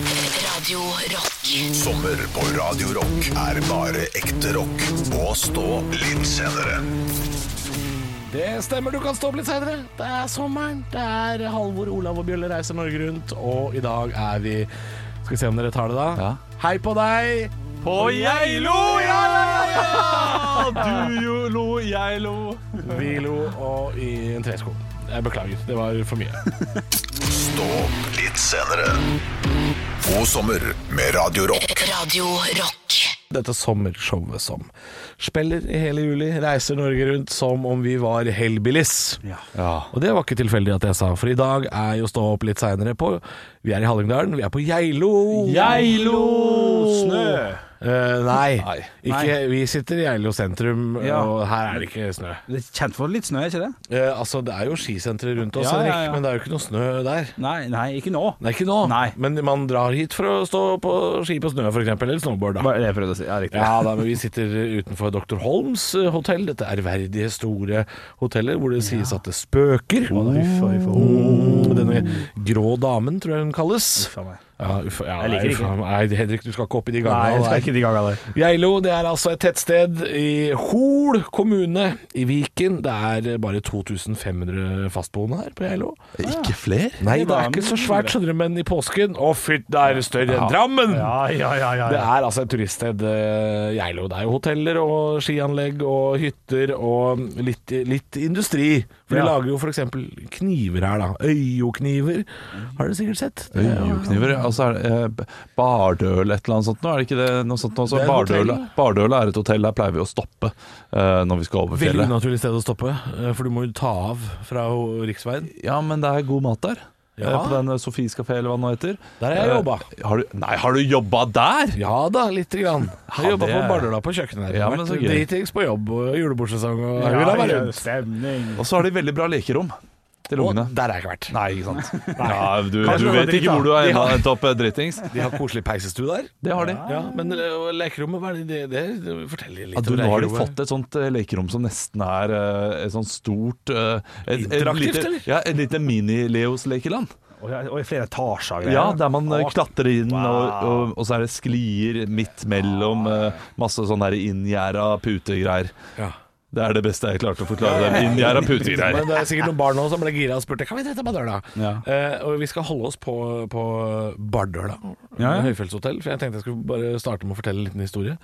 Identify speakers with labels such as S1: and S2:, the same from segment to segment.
S1: Radio Rock.
S2: Sommer på Radio Rock er bare ekte rock. Og stå litt senere.
S3: Det stemmer, du kan stå opp litt senere. Det er sommeren. Det er Halvor, Olav og Bjølle reiser Norge rundt, og i dag er vi Skal vi se om dere tar det, da.
S4: Ja.
S3: Hei på deg!
S4: På Geilo, ja, ja, ja! Du jo lo, jeg lo.
S3: Vi lo, og i en tresko. Jeg beklager, det var for mye.
S2: Stå opp litt senere. God sommer med Radio Rock.
S1: Radio Rock.
S3: dette sommershowet som spiller i hele juli, reiser Norge rundt som om vi var hellbillies.
S4: Ja.
S3: Og det var ikke tilfeldig at jeg sa, for i dag er jo stå opp litt seinere på Vi er i Hallingdalen, vi er på Geilo.
S4: Geilo! Snø!
S3: Eh, nei.
S4: Nei.
S3: Ikke, vi sitter i Geilo sentrum,
S5: Ja.
S3: og her er det ikke snø.
S5: Det er kjent for litt snø, er ikke det?
S3: Eh, altså, det er jo skisenteret rundt oss,
S5: Ja, ja,
S3: Henrik,
S5: ja.
S3: men det er jo ikke noe snø der.
S5: Nei, nei ikke nå.
S3: Nei, ikke nå,
S5: Nei.
S3: men man drar hit for å stå på ski på snø, f.eks., eller snowboard. da
S5: Hva er det jeg prøvde å si? Ja, riktig.
S3: Ja, da, men vi sitter utenfor Dr. Holms eh, hotell. Dette ærverdige, store hotellet hvor det sies at det spøker. Mm, Denne grå damen, tror jeg hun kalles.
S5: Faen meg.
S3: Ja, uff, ja,
S5: Jeg liker
S3: nei,
S5: det ikke.
S3: faen, Nei, Henrik, du skal ikke opp i de
S5: Nei,
S3: gangene.
S5: det er ikke de gangene der.
S3: Geilo det er altså et tettsted i Hol kommune i Viken. Det er bare 2500 fastboende her på Geilo.
S4: Ikke fler?
S3: Nei, det
S5: var
S3: er ikke så
S5: mye.
S3: svært, skjønner du, men i påsken Å, fytt, det er større enn Drammen!
S5: Ja, ja, ja, ja.
S3: Det er altså et turiststed, eh, Geilo. Det er jo hoteller og skianlegg og hytter og litt, litt industri. For de
S5: Ja.
S3: lager jo f.eks. kniver her, da. Øyokniver har dere sikkert sett. Det er-
S4: Øyekniver. Altså er det eh, Bardøl et eller annet sånt nå? Er det ikke det noe sånt nå? Så
S3: Det er et
S4: Bardøl,
S3: hotell.
S4: Bardøl er et hotell, der pleier vi å stoppe eh, når vi skal over
S3: Veldig
S4: fjellet.
S3: unaturlig sted å stoppe, eh, for du må jo ta av fra ho- riksveien.
S4: Ja, men det er god mat der. Eh,
S3: Ja.
S4: På den eh, Sofies kafé, eller hva den nå heter.
S3: Der har jeg
S4: Eh,
S3: jobba.
S4: Har du, nei, har du jobba der?!
S3: Ja da, lite grann. Jeg
S4: Ja,
S3: jobba
S4: det-
S3: på Bardøla på kjøkkenet. der.
S4: Ja, men
S3: Vært
S4: så gøy.
S3: Dritings på jobb og julebordsesong og
S5: Ja,
S3: jeg vil da være
S5: ja,
S3: rundt.
S5: stemning.
S4: Og så har de veldig bra lekerom til
S3: Og
S4: ungene.
S3: der har jeg ikke vært.
S4: Nei, ikke sant. Ja, du,
S5: Kanskje
S4: du
S5: det var
S4: vet
S5: dritt,
S4: ikke
S5: da.
S4: hvor du har enda endt opp eh, dritings.
S3: De har koselig peisestue der.
S4: Det har de. Ja.
S3: Ja, Men eh, og lekerommet, hva er det det, det, det Fortell litt
S4: du,
S3: om
S4: nå har de
S3: lekerommet.
S4: fått et sånt eh, lekerom som nesten er eh, et sånt stort eh, et, et
S3: Interaktivt,
S4: lite-
S3: eller?
S4: Ja, et lite mini-Leos-lekeland.
S5: Og, ja, og i flere etasjer. og greier.
S4: Ja, der man eh,
S5: Å,
S4: klatrer inn, og,
S5: wow.
S4: og, og så er det sklier midt mellom eh, masse sånn der inngjerda putegreier.
S3: Ja.
S4: Det er det beste jeg klarte å forklare dem. Inngjerda putegreier.
S3: Men det er sikkert noen barn nå som ble gira og spurte Kan vi dra til Bardøla. Eh, og vi skal holde oss på, på Bardøla
S5: Ja, ja.
S3: høyfjellshotell. For jeg tenkte jeg skulle bare starte med å fortelle en liten historie.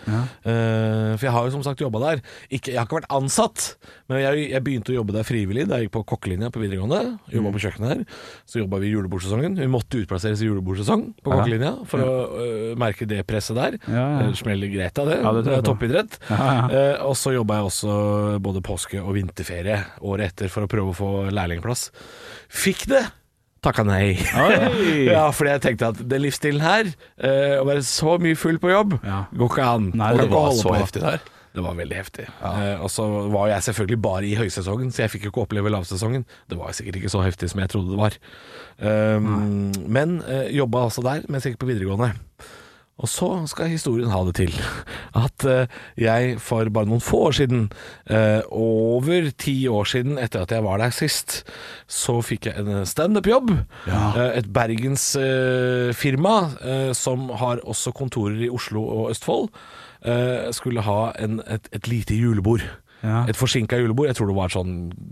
S3: Eh, for jeg har jo som sagt jobba der. Ikke, jeg har ikke vært ansatt, men jeg, jeg begynte å jobbe der frivillig da jeg gikk på kokkelinja på videregående. Jobba
S5: Mm.
S3: på kjøkkenet her. Så jobba vi i julebordsesongen. Vi måtte utplasseres i julebordsesong på kokkelinja for å eh, merke det presset der.
S5: Ja, ja.
S3: Ellers smeller greit av det.
S5: Ja, det tror jeg
S3: Det er
S5: på.
S3: toppidrett. Eh, og så jobba jeg også både påske og vinterferie året etter for å prøve å få lærlingplass. Fikk det! Takka nei.
S5: Oi.
S3: ja, fordi jeg tenkte at den livsstilen her, eh, å være så mye full på jobb,
S5: Ja.
S3: går ikke an.
S5: Nei,
S3: Kan
S5: det
S3: ikke
S4: var
S3: holde
S4: så
S3: på.
S4: heftig der.
S3: Det var veldig heftig. Eh, og så var jeg selvfølgelig bare i høysesongen, så jeg fikk jo ikke oppleve lavsesongen. Det var sikkert ikke så heftig som jeg trodde det var. Um, men eh, jobba altså der mens jeg gikk på videregående. Og så skal historien ha det til at eh, jeg for bare noen få år siden, eh, over ti år siden etter at jeg var der sist, så fikk jeg en standup-jobb. Eh, et bergensfirma firma eh, som har også kontorer i Oslo og Østfold, eh, skulle ha en, et, et lite julebord.
S5: Ja.
S3: Et forsinka julebord. Jeg tror det var sånn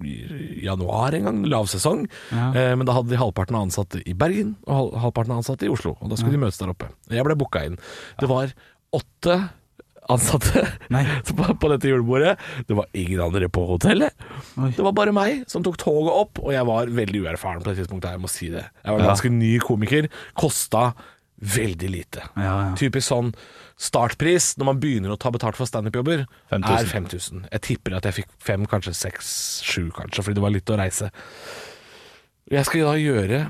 S3: i januar en gang, lavsesong. Eh, men da hadde de halvparten av ansatte i Bergen og hal- halvparten av ansatte i Oslo. Og da skulle de møtes der oppe. Jeg ble booka inn. Det var åtte ansatte
S5: Nei.
S3: på, på dette julebordet. Det var ingen andre på hotellet.
S5: Oi.
S3: Det var bare meg som tok toget opp, og jeg var veldig uerfaren på det tidspunktet. her, Jeg må si det. Jeg var en ganske ny komiker. Kosta veldig lite.
S5: Ja, ja.
S3: Typisk sånn startpris når man begynner å ta betalt for standup-jobber,
S4: 5000.
S3: er 5000. Jeg tipper at jeg fikk fem, kanskje seks, sju, kanskje, fordi det var litt å reise. Jeg skal da gjøre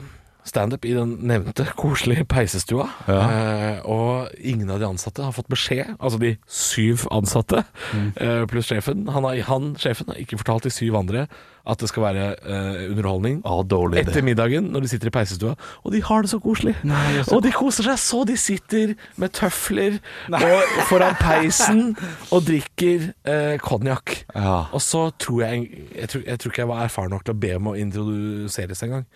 S3: standup i den nevnte koselige peisestua, eh, og ingen av de ansatte har fått beskjed, altså de
S5: Mm.
S3: syv ansatte eh, pluss sjefen. Han, har, han, sjefen har ikke fortalt de syv andre at det skal være eh, underholdning
S4: Å, dårlig idé.
S3: etter middagen når de sitter i peisestua, og de har det så koselig.
S4: Nei, jeg så-
S3: og de koser seg så. De sitter med tøfler og foran peisen og drikker eh, konjakk.
S4: Ja.
S3: Og så tror jeg jeg tror, jeg tror ikke jeg var erfaren nok til å be om å introduseres engang.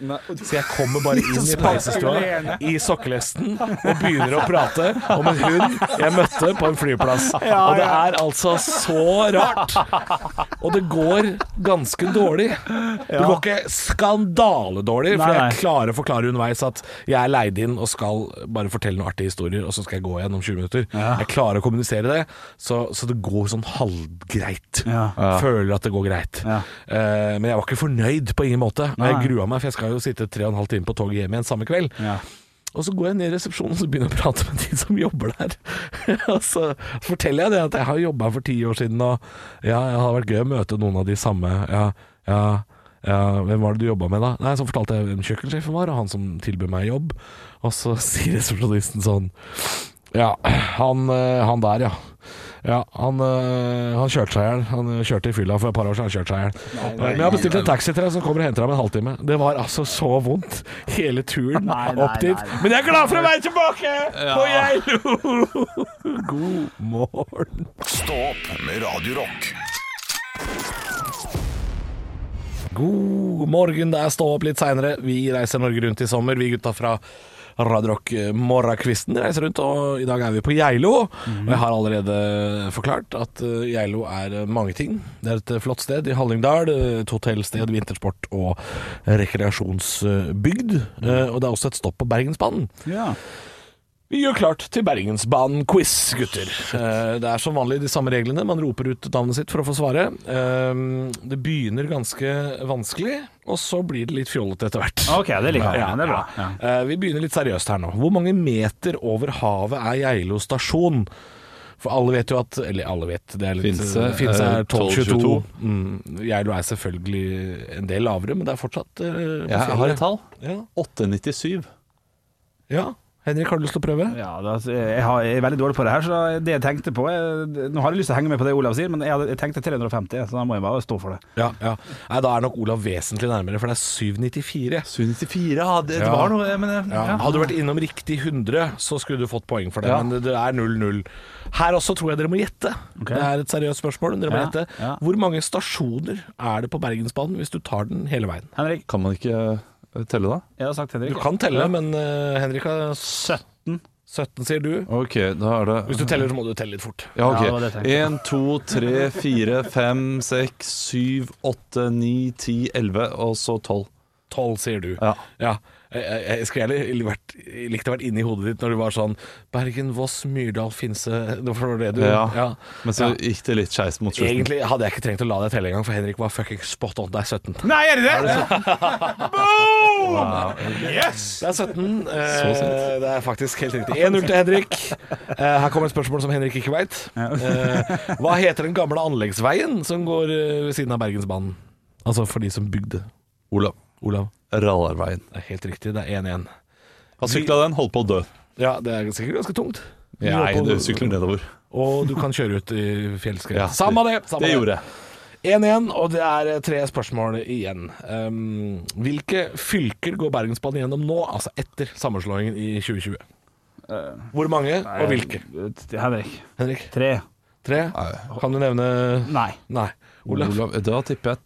S3: Så jeg kommer bare inn i peisestua i sokkelesten og begynner å prate om en hund jeg møtte på en flyplass. Og det er altså så rart. Og det går ganske dårlig. Det går ikke skandaledårlig, for
S5: Nei, nei.
S3: jeg klarer å forklare underveis at jeg er leid inn og skal bare fortelle noen artige historier, og så skal jeg gå igjen om 20 minutter. Jeg klarer å kommunisere det, så, så det går sånn halvgreit.
S5: Ja.
S3: Føler at det går greit.
S5: Ja.
S3: Eh, men jeg var ikke fornøyd på ingen måte. Og
S5: Nei.
S3: jeg grua meg, for jeg skal jo sitte tre og en halv time på toget hjem igjen samme kveld.
S5: Ja.
S3: Og så går jeg ned i resepsjonen og så begynner jeg å prate med de som jobber der. og så forteller jeg det at jeg har jobba for ti år siden, og ja, det hadde vært gøy å møte noen av de samme. Ja, ja, ja, hvem var det du jobba med da? Nei, Så fortalte jeg hvem kjøkkensjefen var, og han som tilbød meg jobb. Og så sier resepsjonisten sånn Ja, han, eh, han der, ja. Ja, han, eh, han kjørte seg i hjel. Han eh, kjørte i fylla for et par år siden. Han kjørte seg i hjel. Men jeg har bestilt en taxi til deg som kommer og henter deg om en halvtime. Det var altså så vondt hele turen
S5: Nei, nei,
S3: opp dit.
S5: nei, nei.
S3: Men jeg er glad for å være tilbake! Og jeg lo! God morgen.
S2: Stå opp med Radio Rock.
S3: God morgen, det er Stå opp litt seinere. Vi reiser Norge rundt i sommer, vi gutta fra Radio Rock eh, Morgenkvisten reiser rundt, og i dag er vi på Geilo. Og jeg har allerede forklart at eh, Geilo er eh, mange ting. Det er et eh, flott sted i Hallingdal. eh, Et hotellsted, vintersport og rekreasjonsbygd. Eh, Og det er også et stopp på Bergensbanen.
S5: Ja.
S3: Vi gjør klart til Bergensbanen-quiz, gutter. Eh, Det er som vanlig de samme reglene. Man roper ut navnet sitt for å få svare. Eh, Det begynner ganske vanskelig, og så blir det litt fjollete etter hvert.
S5: OK, det liker jeg. Det er bra. Ja.
S3: Eh, Vi begynner litt seriøst her nå. Hvor mange meter over havet er Geilo stasjon? For alle vet jo at Eller alle vet, det er litt
S4: Finse,
S3: Finse
S4: eh,
S3: er 1222.
S4: 12,22.
S3: Mm, Geilo er selvfølgelig en del lavere, men det er fortsatt eh, på
S4: Jeg har
S3: fjellet.
S4: et tall.
S3: Ja.
S4: 897.
S3: ja. Henrik, har du lyst til å prøve?
S5: Ja, da, altså, jeg, har, jeg er veldig dårlig på det her, så det jeg tenkte på jeg, Nå har jeg lyst til å henge med på det Olav sier, men jeg, hadde- jeg tenkte 350, så da må jeg bare stå for det.
S3: Ja, ja. Nei, da er nok Olav vesentlig nærmere, for det er 794.
S4: 794, ja. Det,
S3: Ja.
S4: var noe, men
S3: Ja. Hadde du vært innom riktig 100, så skulle du fått poeng for det, men det, det er 0-0. Her også tror jeg dere må gjette. Det er et seriøst spørsmål. Dere må
S5: Ja,
S3: gjette.
S5: ja.
S3: Hvor mange stasjoner er det på Bergensbanen hvis du tar den hele veien?
S5: Henrik,
S4: Kan man ikke eh, telle da?
S5: jeg har sagt
S3: Du
S5: Henrik.
S3: kan telle, men eh, Henrik har 17,
S5: 17.
S3: sier du.
S4: Ok, da er det
S3: Hvis du teller, så må du telle litt fort.
S4: Ja,
S5: Ja, det var det jeg
S4: ok.
S5: tenkte.
S4: 1, 2, 3, 4, 5, 6, 7, 8, 9, 10, 11 og så 12.
S3: 12, sier du.
S4: Ja.
S3: Jeg, jeg, jeg skulle gjerne vært, jeg likte å vært inne i hodet ditt når du var sånn Bergen, Voss, Myrdal, Finse Det var det du
S4: Ja.
S3: ja.
S4: Men så
S3: Ja.
S4: gikk det litt skeis mot slutten.
S3: Egentlig hadde jeg ikke trengt å la deg telle engang, for Henrik var fucking spot on. Det er 17.
S5: Nei, er det det?
S3: Det er 17.
S4: Så
S3: Eh,
S4: sent.
S3: det er faktisk helt riktig. 1-0 til Henrik. Eh, her kommer et spørsmål som Henrik ikke veit. Eh, hva heter den gamle anleggsveien som går eh, ved siden av Bergensbanen? Altså for de som bygde.
S4: Olav.
S3: Olav.
S4: Rallarveien.
S3: Det er helt riktig, det er 1-1.
S4: Han sykla den, holdt på å dø.
S3: Ja, det er sikkert ganske tungt.
S4: Nei, du sykler nedover.
S3: Og du kan kjøre ut i fjellskred.
S4: Ja,
S3: samme det! Samme
S4: Det gjorde jeg.
S3: 1-1, og det er eh, tre spørsmål igjen. Um, hvilke fylker går Bergensbanen gjennom nå, altså etter sammenslåingen i 2020? Hvor mange, og hvilke?
S5: Eh, Henrik.
S3: Henrik?
S5: Tre.
S3: Tre? Kan du nevne
S5: Nei.
S3: Nei. Olav?
S4: Olav, da tipper jeg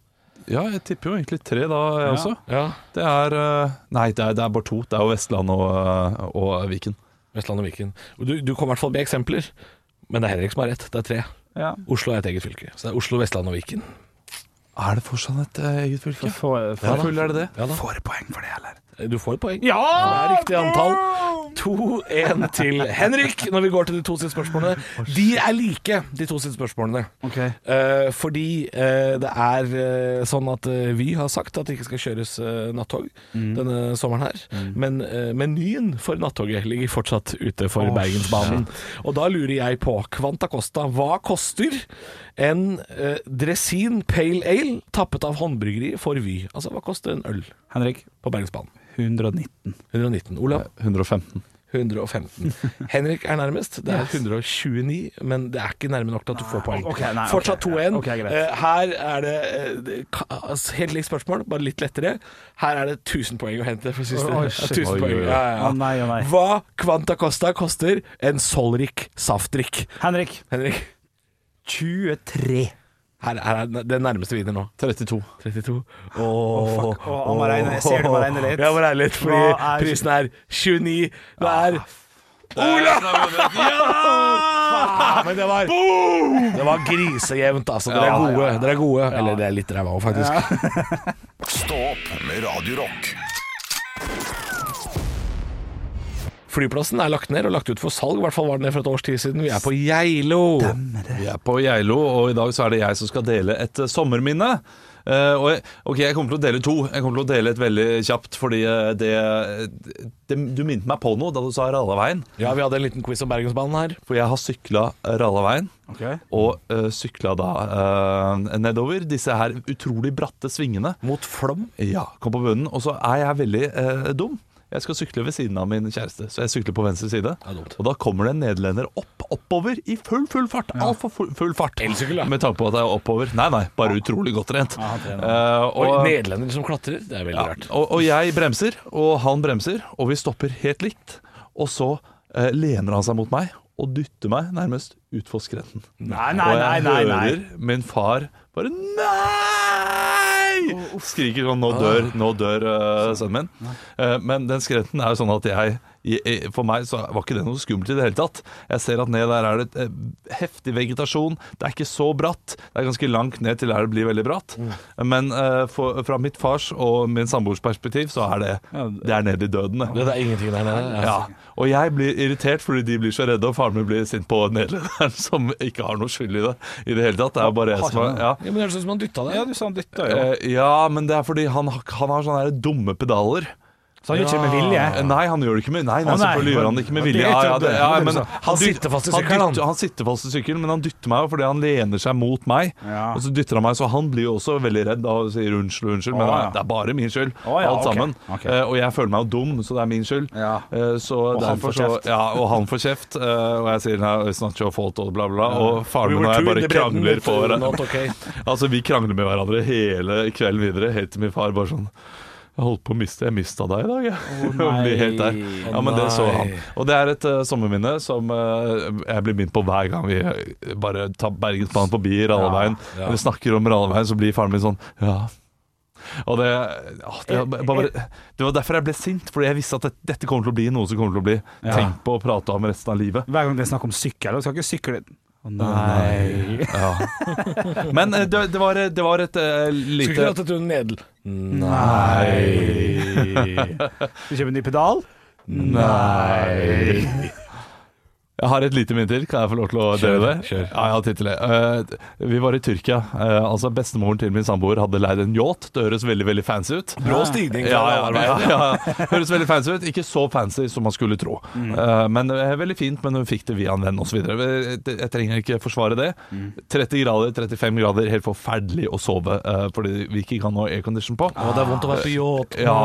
S4: Ja, jeg tipper jo egentlig tre da, jeg også.
S3: Ja.
S4: Det er eh, Nei, det er, det er bare to. Det er jo Vestland og, eh, og Viken.
S3: Vestland og Viken. Og Du, du kom i hvert fall med eksempler, men det er Henrik som har rett. Det er tre.
S5: Ja.
S3: Oslo er et eget fylke. Så det er Oslo, Vestland og Viken.
S4: Er det fortsatt et eh, eget fylke?
S5: Får,
S4: Hvor
S5: får,
S4: full er det det?
S3: Ja da.
S5: får jeg poeng for det, eller?
S3: Eh, Du får et poeng.
S5: Ja!
S3: Det er riktig antall. 2-1 til Henrik når vi går til de to siste spørsmålene. De er like, de to siste spørsmålene.
S5: Ok.
S3: Eh, fordi eh, det er eh, sånn at eh, vi har sagt at det ikke skal kjøres eh, nattog denne sommeren her. Men eh, menyen for nattoget ligger fortsatt ute for Bergensbanen. Og da lurer jeg på, Kvanta Costa, hva koster en eh, dresin pale ale tappet av håndbryggeri for Vy? Altså hva koster en øl
S5: Henrik,
S3: på Bergensbanen?
S5: 119.
S3: 119. Olav?
S4: 115.
S3: 115. Henrik er nærmest. Det er 129, men det er ikke nærme nok til at du får poeng.
S5: Ah, ok, nei, ok.
S3: Fortsatt 2-1.
S5: Ok, greit.
S3: Eh, Her er det eh, det- ka- altså, helt likt spørsmål, bare litt lettere. Her er det 1000 poeng å hente for siste.
S5: Oi,
S3: Ja,
S5: shit.
S3: 1000
S4: Oi,
S3: poeng.
S4: oi, oi.
S3: Ja, ja, ja.
S5: Å, nei, å, nei.
S3: Hva Kvanta Costa koster en solrik saftdrikk?
S5: Henrik.
S3: Henrik,
S5: 23.
S3: her, her er den- den nærmeste vinner nå.
S4: 32.
S3: 32. Åh,
S5: fuck. Åh, jeg må regne. Jeg ser du må regne litt.
S3: Jeg må regne litt, fordi
S5: Hva er- Ah.
S3: prisen er 29. Det er Ola! Ja! Men det var, det var grisejevnt, altså. Dere er gode. Dere er gode. Eller det er litt ræva òg, faktisk.
S2: Stå opp med Radio Rock.
S3: Flyplassen er lagt ned og lagt ut for salg. I hvert fall var den det for et års tid siden. Vi er på Geilo.
S4: Vi er på Geilo, og i dag så er det jeg som skal dele et eh, sommerminne. Eh, og jeg, ok, jeg kommer til å dele to. Jeg kommer til å dele et veldig kjapt, fordi eh, det, det Du minte meg på noe da du sa Ralleveien.
S3: Ja, vi hadde en liten quiz om Bergensbanen her.
S4: For jeg har sykla Ralleveien, og uh, sykla da eh, nedover disse her utrolig bratte svingene.
S3: Mot Flom.
S4: Ja, kom på bunnen. Og så er jeg veldig eh, dum. Jeg skal sykle ved siden av min kjæreste, så jeg sykler på venstre side.
S3: Ja, dumt.
S4: og da kommer det en nederlender opp, oppover i full, full fart. Altfor full, full fart.
S3: Elsykkel, da.
S4: Med tanke på at jeg er oppover. Nei, nei, bare utrolig godt trent.
S5: han trener.
S4: Eh,
S3: Og
S4: og,
S3: nederlender som klatrer. Det er veldig
S4: ja,
S3: rart.
S4: og, og jeg bremser, og han bremser, og vi stopper helt likt. Og så eh, lener han seg mot meg og dytter meg nærmest utfor skrenten.
S5: Nei, nei,
S4: og
S5: nei,
S4: jeg
S5: nei, nei.
S4: hører min far bare Nei! Skriker sånn Nå dør, nå dør eh, sønnen min. Eh, men den skrenten er jo sånn at jeg jeg- for meg så var ikke det noe skummelt i det hele tatt. Jeg ser at ned der er det et, eh, heftig vegetasjon. Det er ikke så bratt. Det er ganske langt ned til der det blir veldig bratt.
S5: Mm.
S4: Men eh, for, fra mitt fars og min samboers perspektiv så er det, det er ned i døden. det.
S3: Det er ingenting der nede. altså.
S4: Ja, og jeg blir irritert fordi de blir så redde, og faren min blir sint på nederlenderen, som ikke har noe skyld i det i det hele tatt. Det er bare jeg som har
S3: Ja,
S4: ja.
S3: men det høres ut som han dytta
S5: Ja,
S3: deg.
S5: du sa han dytta jo.
S4: Eh, ja, men det er fordi han, har- han har sånne der dumme pedaler.
S5: Så han gjør ikke det med
S4: Eh,
S5: vilje.
S4: Nei, han gjør det ikke med Nei, nei,
S5: Å, nei.
S4: selvfølgelig gjør han det ikke med
S5: Ja, det
S4: vilje. Ja, ja,
S5: trodde
S4: det,
S5: jeg.
S4: ja,
S5: Det liksom,
S4: men
S5: trodde
S4: han, dyt-
S3: sitter fast i
S4: han
S3: sykkelen, han.
S4: dytter- Han sitter fast i sykkelen, men han dytter meg jo fordi han lener seg mot meg.
S5: Ja.
S4: Og så dytter han meg, så han blir jo også veldig redd da, og sier unnskyld, unnskyld, men
S5: Å, ja.
S4: det er bare min skyld.
S5: Å, ja,
S4: alt
S5: ok,
S4: sammen.
S5: ok.
S4: Eh, og jeg føler meg jo dum, så det er min skyld.
S5: Ja.
S4: Eh, så
S5: Og han
S4: derfor
S5: får
S4: så-
S5: kjeft.
S4: Ja, og han får kjeft. eh, og jeg sier nei, it's not your fault, og bla, bla, bla. Og faren min og jeg bare krangler eh, på
S3: uh, Not okay.
S4: Altså, vi krangler med hverandre hele kvelden videre, helt til min far bare sånn jeg holdt på å miste Jeg mista deg i dag, jeg. Og blir helt der. Ja, men det så han.
S3: nei.
S4: Og det er et eh, sommerminne som eh, jeg blir minnet på hver gang vi eh, bare tar Bergensbanen forbi Ralleveien.
S3: ja.
S4: Eller snakker om Ralleveien, så blir faren min sånn Ja. Og det, åh, det,
S3: Eh,
S4: var bare, det var derfor jeg ble sint, fordi jeg visste at dette, dette kommer til å bli noe som kommer til å bli tenkt på og prata om resten av livet.
S5: Hver gang det er snakk om sykkel, og skal ikke sykle Å nei.
S4: Ja. Men eh, det, det, var, det var et eh,
S3: Skulle ikke
S4: lite
S3: hatt et nedel.
S5: Du kjøper en ny pedal?
S4: Nei Jeg har et lite minne til, kan jeg få lov til å dele det?
S3: kjør.
S4: Ja, jeg har tid til det. Eh, vi var i Tyrkia. Eh, altså Bestemoren til min samboer hadde leid en yacht. Det høres veldig veldig fancy ut.
S3: Brå stigning.
S4: Ja, ja, ja, ja. Høres veldig fancy ut. Ikke så fancy som man skulle tro.
S3: Mm.
S4: Eh, men eh, Veldig fint, men hun fikk det via en venn osv. Jeg jeg trenger ikke forsvare det.
S3: Mm.
S4: 30 grader, 35 grader, helt forferdelig å sove eh, fordi vi ikke kan ha aircondition på.
S3: Å, det er vondt å være på yacht.
S4: Ja,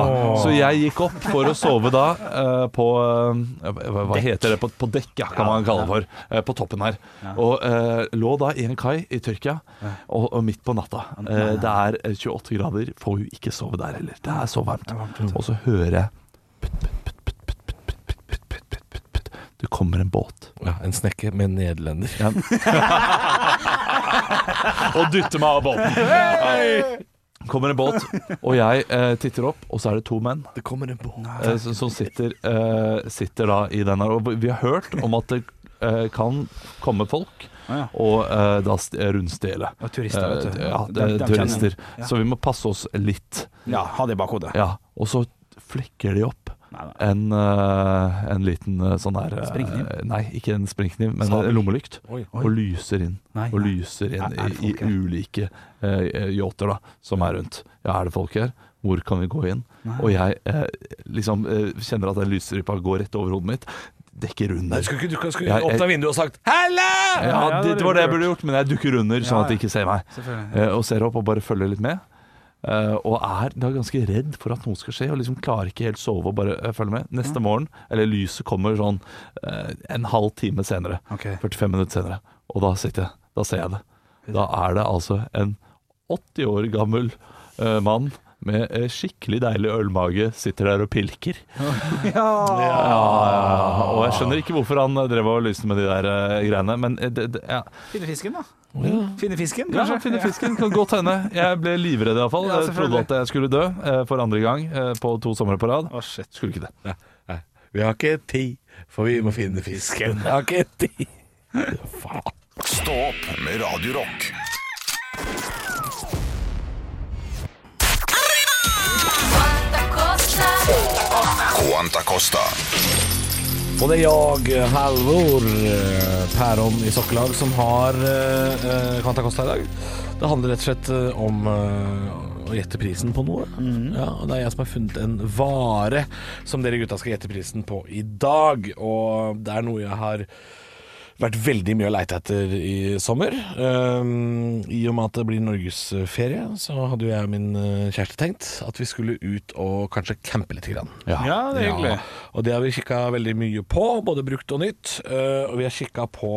S4: så jeg gikk opp for å sove da eh, på eh, Hva hva heter det? På, på dekk, ja, kan man kalle det for. eh, på toppen her. Og eh, lå da i en kai i Tyrkia, og, og midt på natta. Eh, det er eh, 28 grader, får jo ikke sove der heller. Det er så varmt. Og så hører jeg putt, putt, putt, putt, putt, putt, putt, putt, putt, putt, putt, putt. Det kommer en båt
S3: Ja, en snekke med en nederlender.
S4: og dytter meg av båten. Kommer en båt, og jeg eh, titter opp, og så er det to menn.
S3: Det kommer en båt.
S4: eh, som, som sitter, eh, sitter da i den her. Og vi har hørt om at det eh, kan komme folk
S5: Å, ja.
S4: og eh, da st- rundstjele.
S5: Og turister, vet du.
S4: Eh, Ja, det,
S5: Dem- dem
S4: turister.
S5: kjenner jeg. Ja.
S4: Så vi må passe oss litt.
S5: Ja, ha det i bakhodet.
S4: Ja, og så flekker de opp.
S5: Nei, nei.
S4: En, eh, en liten eh, sånn der eh,
S5: Springkniv?
S4: Nei, ikke en springkniv, men
S3: Sabel.
S4: en lommelykt.
S3: Oi.
S4: Og lyser inn
S5: Nei,
S4: Og
S5: nei.
S4: lyser inn
S5: Er- er det
S4: i, i
S5: folk her?
S4: ulike eh, yachter da, som er rundt. Ja, er det folk her? Hvor kan vi gå inn? Og jeg eh, liksom eh, kjenner at den lysstripa går rett over hodet mitt. Dekker
S3: Nei,
S4: under.
S3: skulle ikke du skulle
S4: Ja, jeg-
S3: åpna vinduet og sagt 'halla'?
S4: Ja,
S5: ja,
S4: det,
S5: det
S4: det var det jeg
S5: burde
S4: burde gjort, men jeg dukker under sånn at de ikke ser meg.
S5: Selvfølgelig.
S4: Eh, og ser opp og bare følger litt med. eh, og er da ganske redd for at noe skal skje, og liksom klarer ikke helt sove og bare eh, følge med. Neste morgen, eller lyset kommer sånn eh, en halv time senere,
S5: Ok.
S4: 45 minutter senere, og da sitter jeg, da ser jeg det. Da er det altså en 80 år gammel eh, mann med eh, skikkelig deilig ølmage sitter der og pilker. Ja, og jeg skjønner ikke hvorfor han eh, drev og lyste med de der eh, greiene, men eh, det, det, ja.
S5: Finne fisken, da. Finne fisken,
S4: ja,
S5: kanskje.
S4: han finner fisken. Kan godt hende. Jeg ble livredd iallfall.
S5: Ja,
S4: Jeg trodde
S5: selvfølgelig.
S4: at jeg skulle dø eh, for andre gang eh, på to somre på rad.
S5: Å, shit.
S4: Skulle ikke det.
S3: Nei, nei. Eh, Vi har ikke tid, for vi må finne fisken. Vi har ikke tid. Faen.
S2: Stå opp med Radio Rock. Quanta Costa.
S3: Og det er jeg, Halvor eh, Pæron i Sokkelag, som har eh, eh, Quanta Costa i dag. Det handler rett og slett eh, om eh, å gjette prisen på noe. Ja, og det er jeg som har funnet en vare som dere gutta skal gjette prisen på i dag. Og det er noe jeg har vært veldig mye å leite etter i sommer. Ehm, I og med at det blir norgesferie, så hadde jo jeg og min eh, kjæreste tenkt at vi skulle ut og kanskje campe litt. Grann.
S5: Ja, det er hyggelig.
S3: Og det har vi kikka veldig mye på, både brukt og nytt. Eh, og vi har kikka på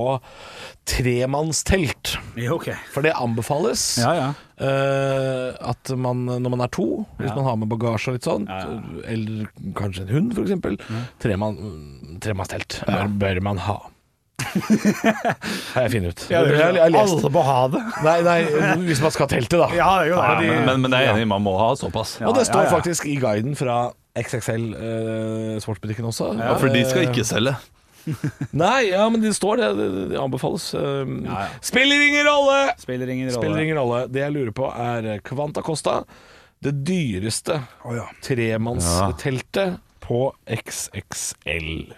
S3: tremannstelt.
S5: Ja, ok.
S3: For det anbefales.
S5: Ja, ja.
S3: eh, at man, når man er to, hvis man har med bagasje og litt sånt, eller kanskje en hund f.eks., tremann, tremannstelt bør, bør man ha. Har jeg funnet ut. jeg, jeg, jeg leste.
S5: må ha det.
S3: Nei, nei, hvis man skal ha teltet, da.
S5: Ja, det er jo
S4: Ja,
S5: det.
S4: men, men, men jeg er enig, man må ha såpass.
S3: og det står
S5: ja, ja.
S3: faktisk i guiden fra XXL eh, sportsbutikken også.
S4: Ja, for de skal
S3: Eh,
S4: ikke selge.
S3: Nei, ja, men det står det. Det, det anbefales. Um, Spiller ingen rolle!
S5: Spiller ingen rolle.
S3: Spiller ingen rolle. Det jeg lurer på, er Kvanta Costa. Det dyreste
S5: Å, ja.
S3: tremannsteltet på XXL.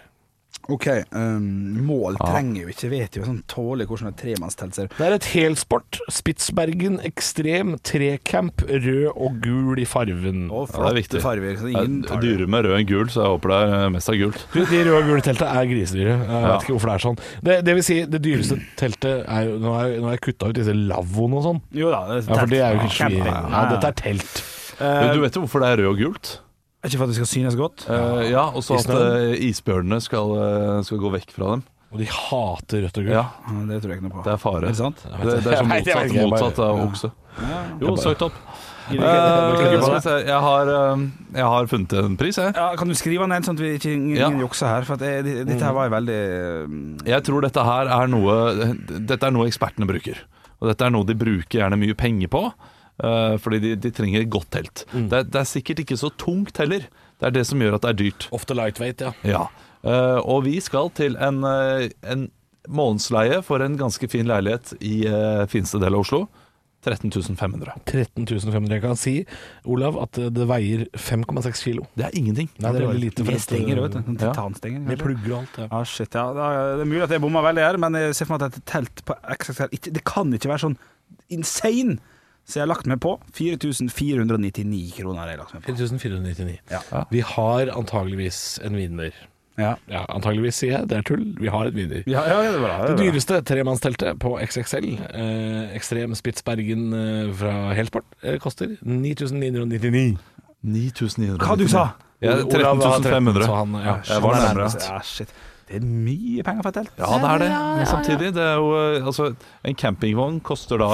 S5: Ok, um, mål trenger jo ikke, vet jo sånn tålig hvordan et tremannstelt ser ut.
S3: Det er et helsport. Spitsbergen ekstrem trecamp, rød og gul i farven.
S5: Og
S4: Ja, det er
S5: flotte
S4: viktig.
S5: farger. Så
S4: Det
S5: ingen
S4: er
S5: tar det.
S4: Eh, Dyre med rød enn gul, så jeg håper det er eh, mest av gult.
S3: Du, De røde og gule teltene er grisedyre. Jeg vet ikke hvorfor det er sånn. Det, det vil si, det dyreste teltet er jo Nå har jeg- nå har jeg kutta ut disse lavvoene og sånn.
S5: Jo da, det er
S3: Ja, for det er jo ikke
S5: Camping. Eh,
S3: svir. Ja, dette er telt.
S4: Jo, du vet jo hvorfor det er rød og gult?
S5: Er Ikke for at det skal synes godt.
S4: Eh, ja, og så
S3: I
S4: at
S3: snøen?
S4: eh, isbjørnene skal, eh, skal gå vekk fra dem.
S3: Og de hater rødt og gult.
S4: Ja,
S5: Ja, Det tror jeg ikke noe på.
S4: det er fare.
S5: Er det sant?
S4: Det, det er sånn
S3: Nei, det vet
S4: motsatt,
S3: ikke, jeg bare-
S4: motsatt av okse. Jo, søkt opp.
S5: Gidder ikke-
S4: Eh,
S5: gidder ikke på
S4: skal vi
S5: det.
S4: se, jeg har, eh, jeg har funnet en pris, jeg.
S5: Ja, kan du skrive ned sånn at vi ikke ingen,
S4: Ja.
S5: ingen jukser her? For at jeg, det- dette her var jo veldig um,
S4: Jeg tror dette her er noe Dette er noe ekspertene bruker. Og dette er noe de bruker gjerne mye penger på. eh, fordi de, de trenger et godt telt.
S3: Mm.
S4: Det, er- det er sikkert ikke så tungt heller. Det er det som gjør at det er dyrt.
S3: Ofte lightweight, ja.
S4: Ja. Eh, og vi skal til en, eh, en månedsleie for en ganske fin leilighet i uh, fineste del av Oslo. 13 500.
S3: 13.500 Jeg kan si, Olav, at det veier 5,6 kilo.
S4: Det er ingenting.
S3: Nei, det er eh, veldig lite. eh,
S5: Med stenger, vet du. Sånn
S4: Ja.
S5: Titanstenger.
S3: Med
S5: kanskje.
S3: plugger og alt. Ja.
S5: Ja, shit, ja. Da- Det er mulig at jeg bomma veldig her, men jeg ser for meg at et telt på XXL ikke, Det kan ikke være sånn insane! Så jeg har lagt meg på 4499 kroner. har Jeg lagt meg på
S3: 1499.
S5: Ja.
S3: Vi har antageligvis en vinner.
S5: Ja,
S3: Ja, antageligvis sier jeg, det er tull. Vi har en vinner.
S5: ja, ja det er bra.
S3: Det
S5: Det er bra.
S3: dyreste tremannsteltet på XXL, eh, Ekstrem Spitsbergen eh, fra Helsport, eh, koster 9999.
S4: 9900.
S5: Hva du sa?
S4: Ja, 13 500.
S3: Så han, ja.
S4: Jeg var
S5: Sånn er
S4: nærmere.
S5: det. Ja, shit. Det er mye penger for et telt.
S4: Ja, det er det. Men samtidig, det er jo eh, Altså, en campingvogn koster da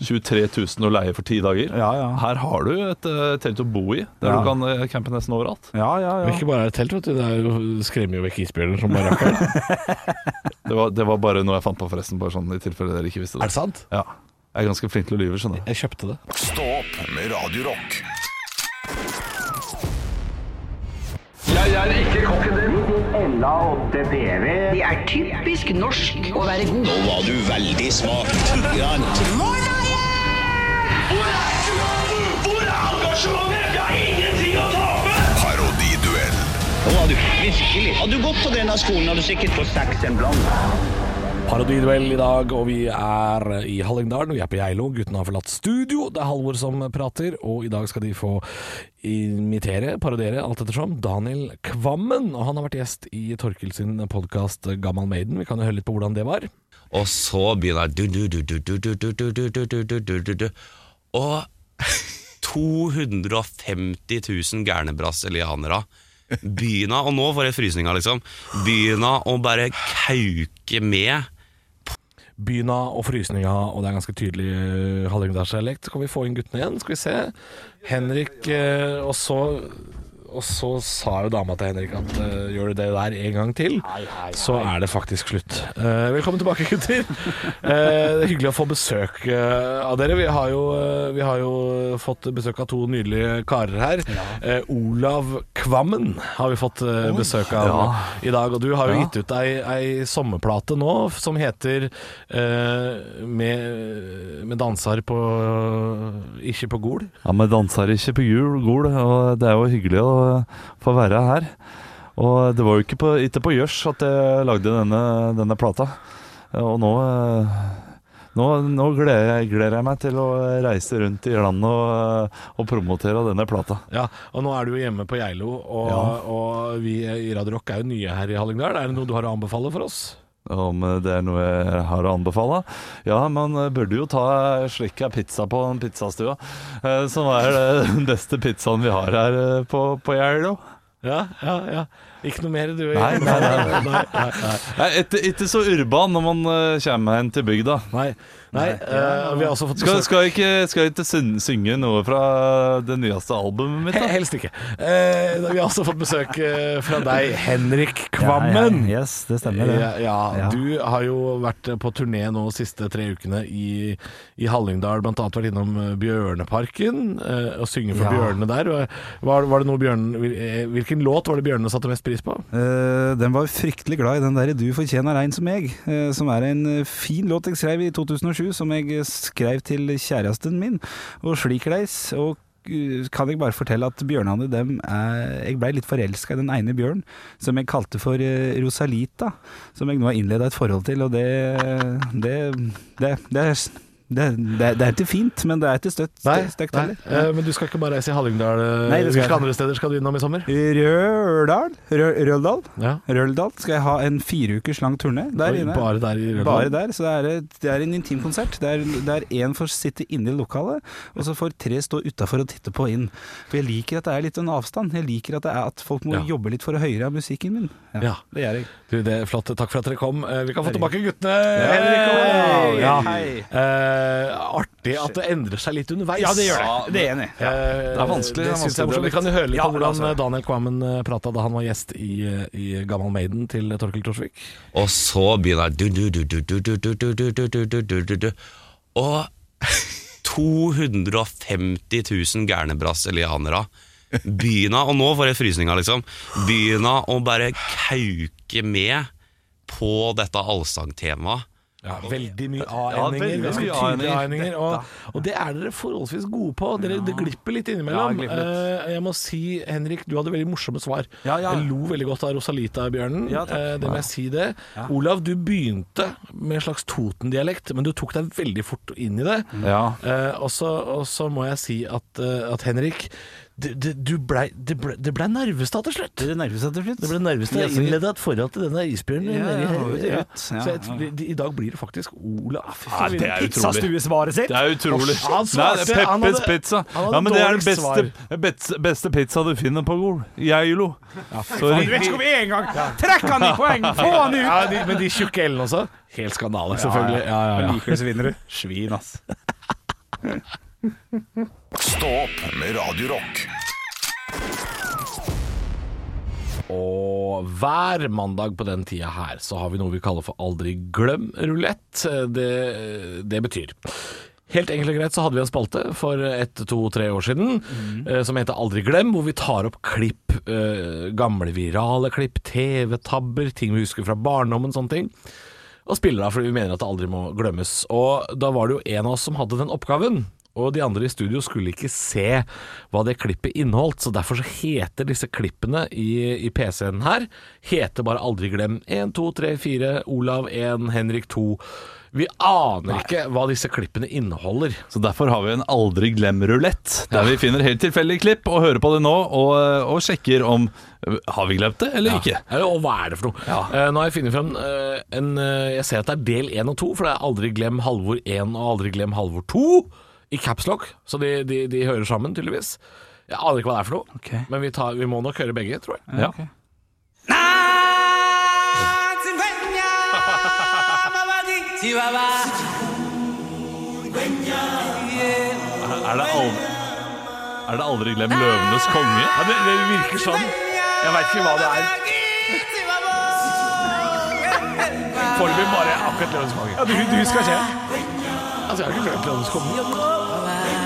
S4: 23 000 å leie for ti dager.
S5: Ja, ja.
S4: Her har du et eh, telt å bo i, der
S5: Ja.
S4: du kan eh, campe nesten overalt.
S5: Ja, ja,
S3: Og
S5: ja.
S3: ikke bare er det telt, vet du. Det er jo, skremmer jo vekk isbjørner som bare rakker.
S4: Det var, det var bare noe jeg fant på, forresten, bare sånn i tilfelle dere ikke visste
S3: er
S4: det.
S3: det sant?
S4: Ja. Jeg er ganske flink til å lyve, skjønner du.
S3: Jeg kjøpte det.
S2: Stå opp med Radio Rock.
S6: Ella 8 PV.
S1: Det er typisk norsk å være god.
S7: var du veldig smart. Grann.
S8: Hvor er engasjementet? Jeg har ingenting å tape!
S2: Parodiduell.
S7: Nå var du virkelig. Hadde du gått på denne skolen, hadde du sikkert fått seks en blant.
S3: Parodiduell i dag, og vi er i Hallingdalen. Vi er på Geilo. Guttene har forlatt studio. Det er Halvor som prater, og i dag skal de få imitere, parodiere, alt ettersom, Daniel Kvammen. Og han har vært gjest i Torkel sin podkast Gammal Maiden. Vi kan jo høre litt på hvordan det var.
S9: Og så begynner du, du, du, du, du, du, du, du, du, du, du, du, du, du, du. Og 250 000 gærne brasilianere. Begynna, og nå får jeg frysninger, liksom. Begynna å bare kauke med.
S3: Byna og frysninga, og det er ganske tydelig eh, hallingdalsdialekt. Så kan vi få inn guttene igjen, skal vi se. Henrik eh, Og så og så sa jo dama til Henrik at eh, gjør du det der en gang til, så er det faktisk slutt. Eh, velkommen tilbake, gutter. Eh, det er hyggelig å få besøk eh, av dere. Vi har, jo, eh, vi har jo fått besøk av to nydelige karer her. Eh, Olav Kvammen har vi fått eh, besøk av i dag. Og du har jo gitt ut ei, ei sommerplate nå som heter eh, med, med danser på Ikke på Gol.
S4: Ja, men danser ikke på jul, gol, og det er jo hyggelig å eh, få være her. Og det var jo ikke på, ikke på gjørs at jeg lagde denne, denne plata. Og nå, eh, nå, nå gleder, jeg, gleder jeg meg til å reise rundt i landet og, eh, og promotere denne plata.
S3: Ja, og nå er du jo hjemme på Geilo, og, og vi i Radio Rock er jo nye her i Hallingdal. Er det noe du har å anbefale for oss?
S4: Om det er noe jeg har å anbefale? Ja, man burde jo ta slik ei pizza på en pizzastua, eh, som er eh, den beste pizzaen vi har her eh, på, på Geilo.
S3: Ja, ja, ja. Ikke noe mer du
S4: Nei, nei, nei.
S3: nei, nei, nei.
S4: Nei, Ikke ikke så urban når man eh, kommer hen til bygda.
S3: nei. nei. eh, vi har også fått
S4: Skal,
S3: besøk-
S4: skal jeg ikke, skal jeg ikke syn- synge noe fra det nyeste albumet mitt?
S3: He-
S4: da?
S3: Helst ikke. Eh, vi har også fått besøk eh, fra deg, Henrik Kvammen.
S5: Ja, ja, yes, det stemmer, det.
S3: Ja, ja,
S5: Ja.
S3: du har jo vært på turné nå de siste tre ukene i, i Hallingdal, blant annet vært innom eh, Bjørneparken eh, og synge for
S5: Ja.
S3: bjørnene der. Og, eh, Var, var det noe bjørn, hvil- eh, hvilken låt var det bjørnene satte mest pris på?
S5: Eh, den var fryktelig glad i den der 'Du fortjener en som meg', eh, som er en eh, fin låt jeg skrev i 2007, som jeg eh, skrev til kjæresten min, og slikleis. Og eh, kan jeg bare fortelle at bjørnene dem er Jeg blei litt forelska i den ene bjørnen, som jeg kalte for eh, Rosalita. Som jeg nå har innleda et forhold til, og det Det, det, det er det, det, det er ikke fint, men det er ikke støtt. støkt heller.
S3: Eh, men du skal ikke bare reise i Hallingdal. eh,
S5: Nei, det skal jeg
S3: Hvilke
S5: ikke.
S3: andre steder skal du innom i sommer?
S5: Røldal? Rø- Røldal?
S3: Ja.
S5: Røldal skal jeg ha en fire ukers lang turné der inne.
S3: Bare der i Røldal?
S5: Bare der, så det er, et- det er en intimkonsert der, der en får sitte inne i lokalet, og så får tre stå utafor og titte på inn. For jeg liker at det er litt en avstand. Jeg liker at, det er at folk må
S3: Ja.
S5: jobbe litt for å høre av musikken min.
S3: Ja.
S5: Det gjør jeg.
S3: Du, det er flott. Takk for at dere kom. Eh, Vi kan få tilbake guttene. Henrik og
S5: Hei!
S3: Ja.
S5: Hei.
S3: Eh, artig at det endrer seg litt underveis.
S5: Ja, det gjør det. Det er jeg enig. i.
S3: Eh,
S4: Det er vanskelig, det er
S3: Det synes jeg
S4: vanskelig
S3: er morsomt. Vi kan jo høre litt
S4: Ja,
S3: på
S4: la
S3: hvordan
S4: oss høre.
S3: Daniel Kvammen eh, prata da han var gjest i, eh, i Gammal Maiden til eh, Torkel Torsvik.
S9: Og så begynner jeg du, du, du, du, du, du, du, du, du, du, du, du, du, du. Og 250 000 gærne brasilianere begynner, og nå får jeg frysninger, liksom, begynner å bare kauke med på dette allsangtemaet.
S3: Ja, veldig mye
S4: Ja,
S3: A-endinger.
S4: veldig mye
S3: ganske tydelige
S4: A-endinger.
S3: A-endinger. Og, og det er dere forholdsvis gode på. Dere, Det glipper litt innimellom.
S4: Ja, det glipper
S3: Eh, jeg må si, Henrik, du hadde veldig morsomme svar.
S5: Ja, ja.
S3: Jeg lo veldig godt av Rosalita-bjørnen.
S5: Ja, takk.
S3: Eh, det må jeg si det. Olav, du begynte med en slags Toten-dialekt, men du tok deg veldig fort inn i det.
S4: Ja.
S3: Eh, og så og så må jeg si at, eh, at Henrik, det, det, du blei, det, ble, det blei nervøst da til slutt.
S5: Det nærmer seg til slutt.
S3: Det ble nærmest jeg innledet et forhold til denne isbjørnen.
S5: Ja,
S3: nedi
S5: ja,
S3: her.
S5: hodet
S3: Ja.
S5: ut. Ja,
S3: Så jeg, tror-
S5: ja.
S3: de- I dag blir det faktisk Olav.
S4: Ja, det er utrolig.
S5: Pizzastuesvaret sitt!
S4: Det er utrolig.
S3: Han svarte-
S4: Nei, det er
S3: han
S4: Peppes
S3: hadde-
S4: pizza.
S3: han hadde
S4: Ja, men det er den
S3: dårligst
S4: beste, beste, beste pizza du finner på Gol. Geilo. Sorry.
S5: vet ikke om en gang! Trekk han i poeng! Få han ut!
S3: Ja, de, men de tjukke elene også. Helt skandale, selvfølgelig. Ja, ja, ja.
S5: Likevel så vinner du. Svin, ass.
S2: Stå opp med Radio Rock.
S3: Og hver mandag på den tida her så har vi noe vi kaller for aldri glem rulett. Det, det betyr Helt enkelt og greit så hadde vi en spalte for ett, to, tre år siden eh, som heter Aldri glem, hvor vi tar opp klipp. Eh, gamle virale klipp, TV-tabber, ting vi husker fra barndommen, sånne ting. og spiller av fordi vi mener at det aldri må glemmes. Og da var det jo en av oss som hadde den oppgaven. Og de andre i studio skulle ikke se hva det klippet inneholdt, så derfor så heter disse klippene i, i PC-en her Heter bare Aldri glem 1, 2, 3, 4, Olav 1, Henrik 2. Vi aner ikke hva disse klippene inneholder.
S4: Så derfor har vi en aldri glem-rulett, der vi finner helt tilfeldige klipp og hører på det nå og, eh, og sjekker om eh, Har vi glemt det eller ikke?
S3: Ja, og hva er det for noe? Eh, nå har jeg funnet frem eh, en eh, Jeg ser at det er del én og to, for det er Aldri glem Halvor 1 og Aldri glem Halvor 2 i capslock, så de, de, de hører sammen, tydeligvis. Jeg aner ikke hva det er for noe,
S5: Ok.
S3: men vi, tar, vi må nok høre begge, tror jeg.
S4: Ja. Er det aldri, er det aldri glem løvenes konge? Ja, det, det virker sånn. Jeg veit ikke hva det er.
S3: Foreløpig bare akkurat Løvens konge.
S5: Du, du skal se.
S3: Altså, jeg har ikke glemt Løvens konge.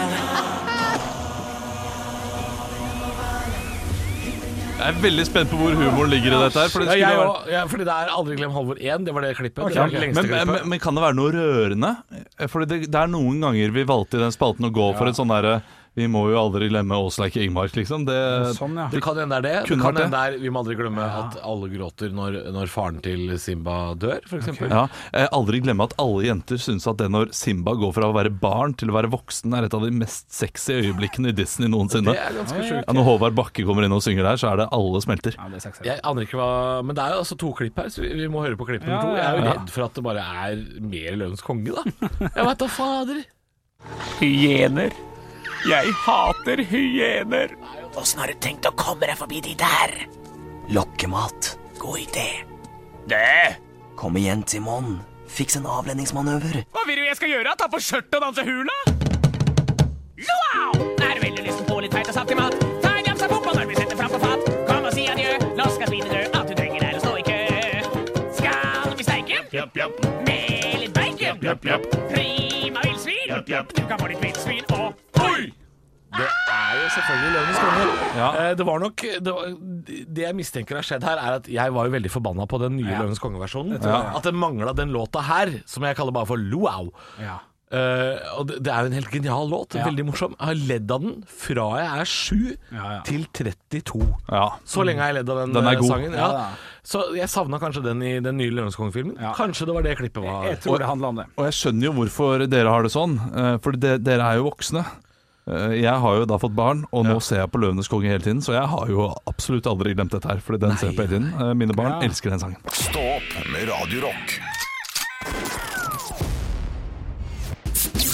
S4: Jeg er veldig spent på hvor humoren ligger i dette her. For det
S3: Ja, jeg,
S4: skulle være...
S3: også, ja, fordi det er Aldri glem Halvor 1. Det var det klippet. Det
S4: Ja,
S3: var det lengste
S4: men, men,
S3: klippet.
S4: men kan det være noe rørende? Eh, Fordi det, det er noen ganger vi valgte i den spalten å gå for en sånn derre Vi må jo aldri glemme Åsleik Ingmark, liksom. Det,
S5: Sånn, ja.
S3: Det kan hende det er det. Det
S4: Kunne
S3: kan
S4: vært
S3: hende det er Vi må aldri glemme at alle gråter når, når faren til Simba dør, f.eks.
S4: ja, eh, aldri glemme at alle jenter syns at det når Simba går fra å være barn til å være voksen, er et av de mest sexy øyeblikkene i Disney noensinne.
S3: Det er ganske sjukt.
S4: Ja, når Håvard Bakke kommer inn og synger der, så er det alle smelter.
S5: Ja, det er sexy.
S3: Jeg aner ikke hva Men det er jo altså to klipp her, så vi, vi må høre på klipp nummer to. Jeg er jo redd for at det bare er mer Løvens konge, da. Jeg veit da fader.
S10: Hyener. Jeg hater hyener. Åssen har du tenkt å komme deg forbi de der? Lokkemat. God idé. Det! Kom igjen, Timon. Fiks en avlendingsmanøver. Hva vil du jeg skal gjøre? Ta på skjørtet og danse hula? Wow! Er du veldig lysten på litt feit og saftig mat? Ta en jafs av fotball når vi setter fram på fat. Kom og si adjø. Nå skal svinet dø. Alt du trenger er å stå i kø. Skal vi steike? Med litt bacon. Prima villsvin. Du kan få litt villsvin og Oi!
S3: Det er jo selvfølgelig Løvens konge.
S4: Ja.
S3: Eh, Det var nok det, var, det jeg mistenker har skjedd her, er at jeg var jo veldig forbanna på den nye Løvens konge-versjonen. At det mangla den låta her, som jeg kaller bare for Luau.
S5: Ja.
S3: Eh, og det, det er jo en helt genial låt.
S5: Ja.
S3: Veldig morsom. Jeg har ledd av den fra jeg er sju
S5: Ja, ja.
S3: til 32.
S4: Ja.
S3: Så lenge har jeg ledd av den,
S4: Den er
S3: eh,
S4: god.
S3: sangen. Ja.
S5: Ja, da.
S3: Så jeg savna kanskje den i den nye Lørenskong-filmen.
S5: Ja.
S3: Kanskje det var det klippet var.
S5: Jeg tror det handler om det.
S4: Og jeg skjønner jo hvorfor dere har det sånn, eh, for de- dere er jo voksne. Eh, Jeg har jo da fått barn, og nå ser jeg på 'Løvenes konge' hele tiden, så jeg har jo absolutt aldri glemt dette her. Fordi den ser jeg på hele tiden Eh, Mine barn
S5: Ja.
S4: elsker den sangen.
S2: Stå opp med Radio Rock.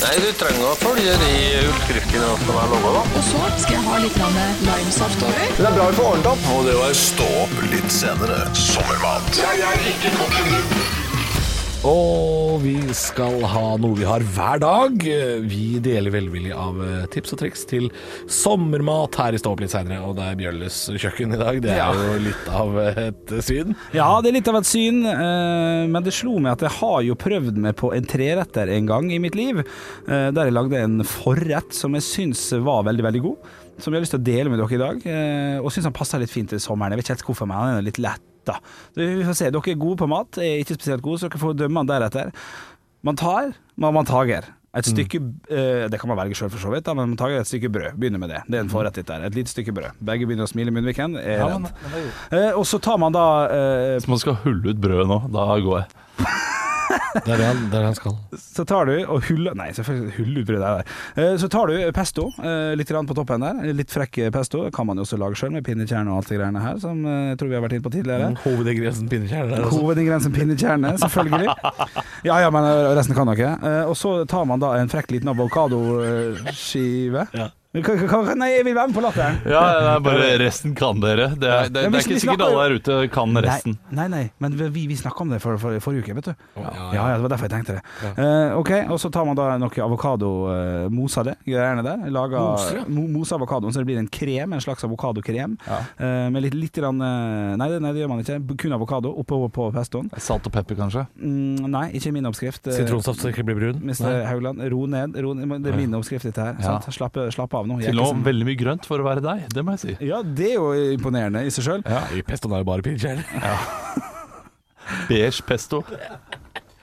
S10: Nei, du trenger å følge de oppskriftene som er laga, da.
S11: Og så skal jeg ha litt grann limesaft over.
S10: Det er bra vi får ordnet opp.
S2: Og det var Stå opp litt senere. Sommermat.
S3: Og vi skal ha noe vi har hver dag. Vi deler velvillig av eh, tips og triks til sommermat her i Stå opp litt seinere. Og det er Bjølles kjøkken i dag. Det er jo litt av et syn.
S5: Ja, det er litt av et syn, eh, men det slo meg at jeg har jo prøvd meg på en treretter en gang i mitt liv. eh, Der jeg lagde en forrett som jeg syns var veldig, veldig god. Som jeg har lyst til å dele med dere i dag, eh, og syns han passer litt fint til sommeren. Jeg vet ikke helt hvorfor, men han er litt lett. Da. Så Vi får se. Dere er gode på mat, jeg er ikke spesielt gode, så dere får dømme han deretter. Man tar, men man tager. Et stykke, eh, Det kan man velge sjøl, for så vidt, da, men man tager et stykke brød. Begynner med det. Det er en forrett, dette her. Et lite stykke brød. Begge begynner å smile i munnviken. Jeg er redd. Eh, Og så tar man da eh,
S4: Hvis man skal hulle ut brødet nå, da går jeg.
S3: Det er det han, skal.
S5: Så tar du og huller Nei, selvfølgelig huller ut brødet er der. Eh, Så tar du pesto eh, litt grann på toppen der. Litt frekk pesto. Kan man jo også lage sjøl med pinnekjerne og alt det greiene her, som eh, jeg tror vi har vært inne på
S3: Mm.
S5: tidligere.
S3: Hovedingrediensen pinnekjerne. der, altså.
S5: Hovedingrediensen pinnekjerne, selvfølgelig. Ja ja, men eh, resten kan dere. Eh, Og så tar man da en frekk liten eh, avokadoskive.
S3: Ja.
S5: Men hva- hva- hva- Nei, jeg vil være med på latteren.
S4: Ja, bare resten kan dere. Det er,
S5: Ja, men
S4: det, det er
S5: hvis vi
S4: ikke sikkert
S5: snakker-
S4: alle der ute kan resten.
S5: Nei, nei, nei. men vi, vi snakka om det for, for, forrige uke, vet du. Ja, ja, det var derfor jeg tenkte det. Eh, ok, og så tar man da noe avokado, eh, mosa det, greiene der. Lager,
S3: Moser, ja.
S5: mo, moser avokadoen, så det blir en krem, en slags avokadokrem. Eh, med litt, litt grann, eh, nei, det- nei, det gjør man ikke. Kun avokado oppå på pestoen.
S4: Salt og pepper, kanskje?
S5: Mm, nei, ikke min oppskrift. Eh,
S3: Sitronsaft så ikke blir brun.
S5: Mr. Haugland, ro ned. Ro, ned. det er min oppskrift, dette her.
S4: Ja.
S5: Sant? Slapp, slapp av nå. Jeg er
S4: Til nå
S5: ikke sånn-
S4: veldig mye grønt for å være deg, det må jeg si.
S5: Ja, det er jo imponerende i seg sjøl.
S3: Nei, pestoen er jo bare pinnekjerne.
S4: Beige pesto.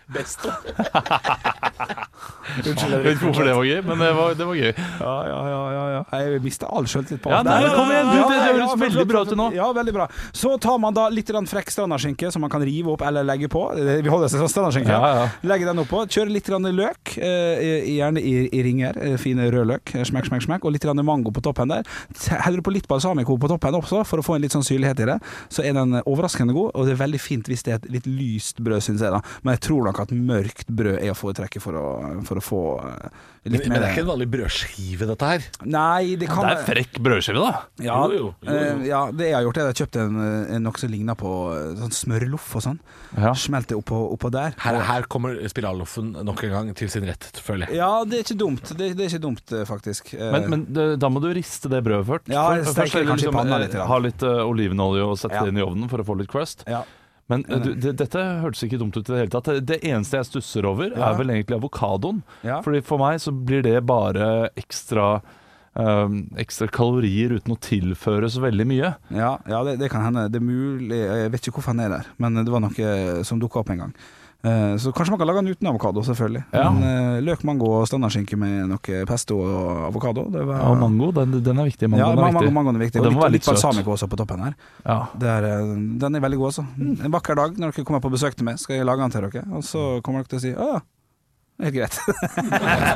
S3: Best.
S4: Jeg vet ikke hvorfor det var gøy, men det var, det var gøy.
S5: Ja, ja, ja, ja, ja. Jeg mista all selvtillit på
S4: Ja,
S5: alt.
S4: nei,
S5: Nei,
S4: kom igjen, du,
S5: ja,
S4: det- det
S5: ja,
S4: høres
S5: ja,
S4: veldig
S5: flott,
S4: bra
S5: flott,
S4: ut nå.
S5: Ja, veldig bra. Så tar man da litt grann frekk strandaskinke som man kan rive opp eller legge på. Det- Vi holder oss til sånn strandaskinke.
S4: Ja, ja.
S5: Legger den oppå. Kjører litt grann løk, eh, i- gjerne i, i ringer. eh, Fine rødløk. eh, Smekk, smekk, smekk. Og litt grann mango på toppen der. T- Heller du på litt balsamico på toppen også, for å få en litt sånn syrlighet i det. Så er den eh, overraskende god, og det er veldig fint hvis det er et litt lyst brød, syns jeg da. Men jeg tror nok at mørkt brød er å foretrekke for å for å få eh,
S3: Men,
S5: litt
S3: men
S5: mer
S3: det er ikke en vanlig brødskive, dette her.
S5: Nei, det kan
S4: Det er frekk brødskive, da.
S5: Ja,
S3: Jo, jo, jo, jo.
S5: eh, ja, det jeg har gjort, er at jeg kjøpte en, eh, en nokså ligna på eh, sånn smørloff og sånn.
S4: Ja.
S5: Smelte oppå, oppå der.
S3: Her, her kommer spiralloffen nok en gang til sin rett, føler jeg.
S5: Ja, det er ikke dumt. Det, det er ikke dumt, eh, faktisk. Eh,
S4: Men, men det, da må du riste det brødet først.
S5: Ja,
S4: For-
S5: steker
S4: først er det
S5: kanskje i panna
S4: eh,
S5: litt, ja.
S4: Ha litt eh, olivenolje og sette
S5: Ja.
S4: det inn i ovnen for å få litt crust.
S5: ja.
S4: Men eh, du, det, dette hørtes ikke dumt ut i det hele tatt. Det, det eneste jeg stusser over,
S5: Ja.
S4: er vel egentlig avokadoen.
S5: Ja.
S4: Fordi for meg så blir det bare ekstra eh, ekstra kalorier uten å tilføre så veldig mye.
S5: Ja, ja det, det kan hende. Det er mulig eh, Jeg vet ikke hvorfor han er der, men det var noe som dukka opp en gang. Eh, Så kanskje man kan lage den uten avokado, selvfølgelig.
S4: Ja.
S5: Men eh, løk, mango og standardskinke med noe pesto og avokado det var,
S4: Og mango, den, den er viktig.
S5: Ja,
S4: Mangoen er
S5: mango,
S4: viktig.
S5: mangoen er viktig.
S4: Og den må være litt
S5: søt.
S4: søt.
S5: Balsamico også på toppen her.
S4: Ja.
S5: Det er, eh, den er veldig god, altså. En vakker dag når dere kommer på besøk til meg, skal jeg lage den til dere. Og så kommer dere til å si å ja, det er helt greit.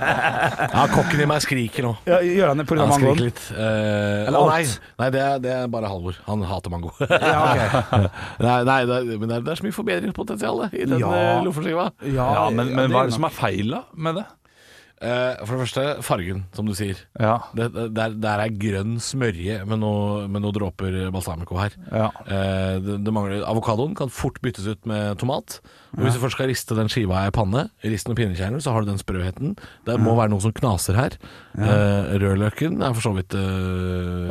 S3: Ja, Kokken i meg skriker nå.
S5: Ja, Gjør han det pga.
S3: Han skriker
S5: mangoen?
S3: litt. Eh,
S5: Eller
S3: å nei,
S5: alt.
S3: nei det, er, det er bare Halvor. Han hater mango.
S5: Ja, ok.
S3: nei, nei, det er, men det er, det er så mye forbedringspotensial i den eh,
S5: Ja.
S3: ja. loffeskiva.
S4: Ja, men, men hva er
S5: gjør
S4: det som er feil da med det?
S3: Eh, for det første, fargen, som du sier.
S4: Ja.
S3: Det, det, der, der er grønn smørje med noe- med noen dråper balsamico her.
S4: Ja.
S3: Eh, det, det mangler Avokadoen kan fort byttes ut med tomat. Og Hvis du først skal riste den skiva i panne, rist den og pinnekjerner, så har du den sprøheten. Det må være noe som knaser her. Eh, rødløken er for så vidt eh,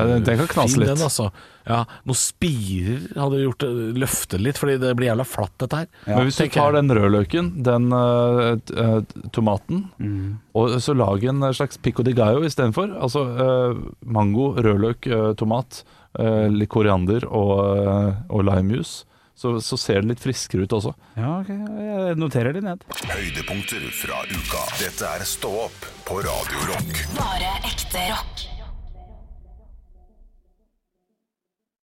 S4: Ja, den- den kan knase
S3: fin,
S4: litt.
S3: Den, altså. ja, noen spirer hadde gjort det, løftet litt, fordi det blir jævla flatt, dette her.
S4: Men hvis du
S3: tenker
S4: tar
S3: jeg.
S4: den rødløken, den eh, t- eh, tomaten,
S3: Mm.
S4: og så lag en eh, slags pico de gallo istedenfor. Altså eh, mango, rødløk, eh, tomat, eh, litt koriander og, eh, og limejuice. Så, så ser det litt friskere ut også.
S5: Ja, ok, jeg noterer det ned.
S2: Høydepunkter fra uka. Dette er Stå opp på Radio Rock.
S11: Bare ekte rock.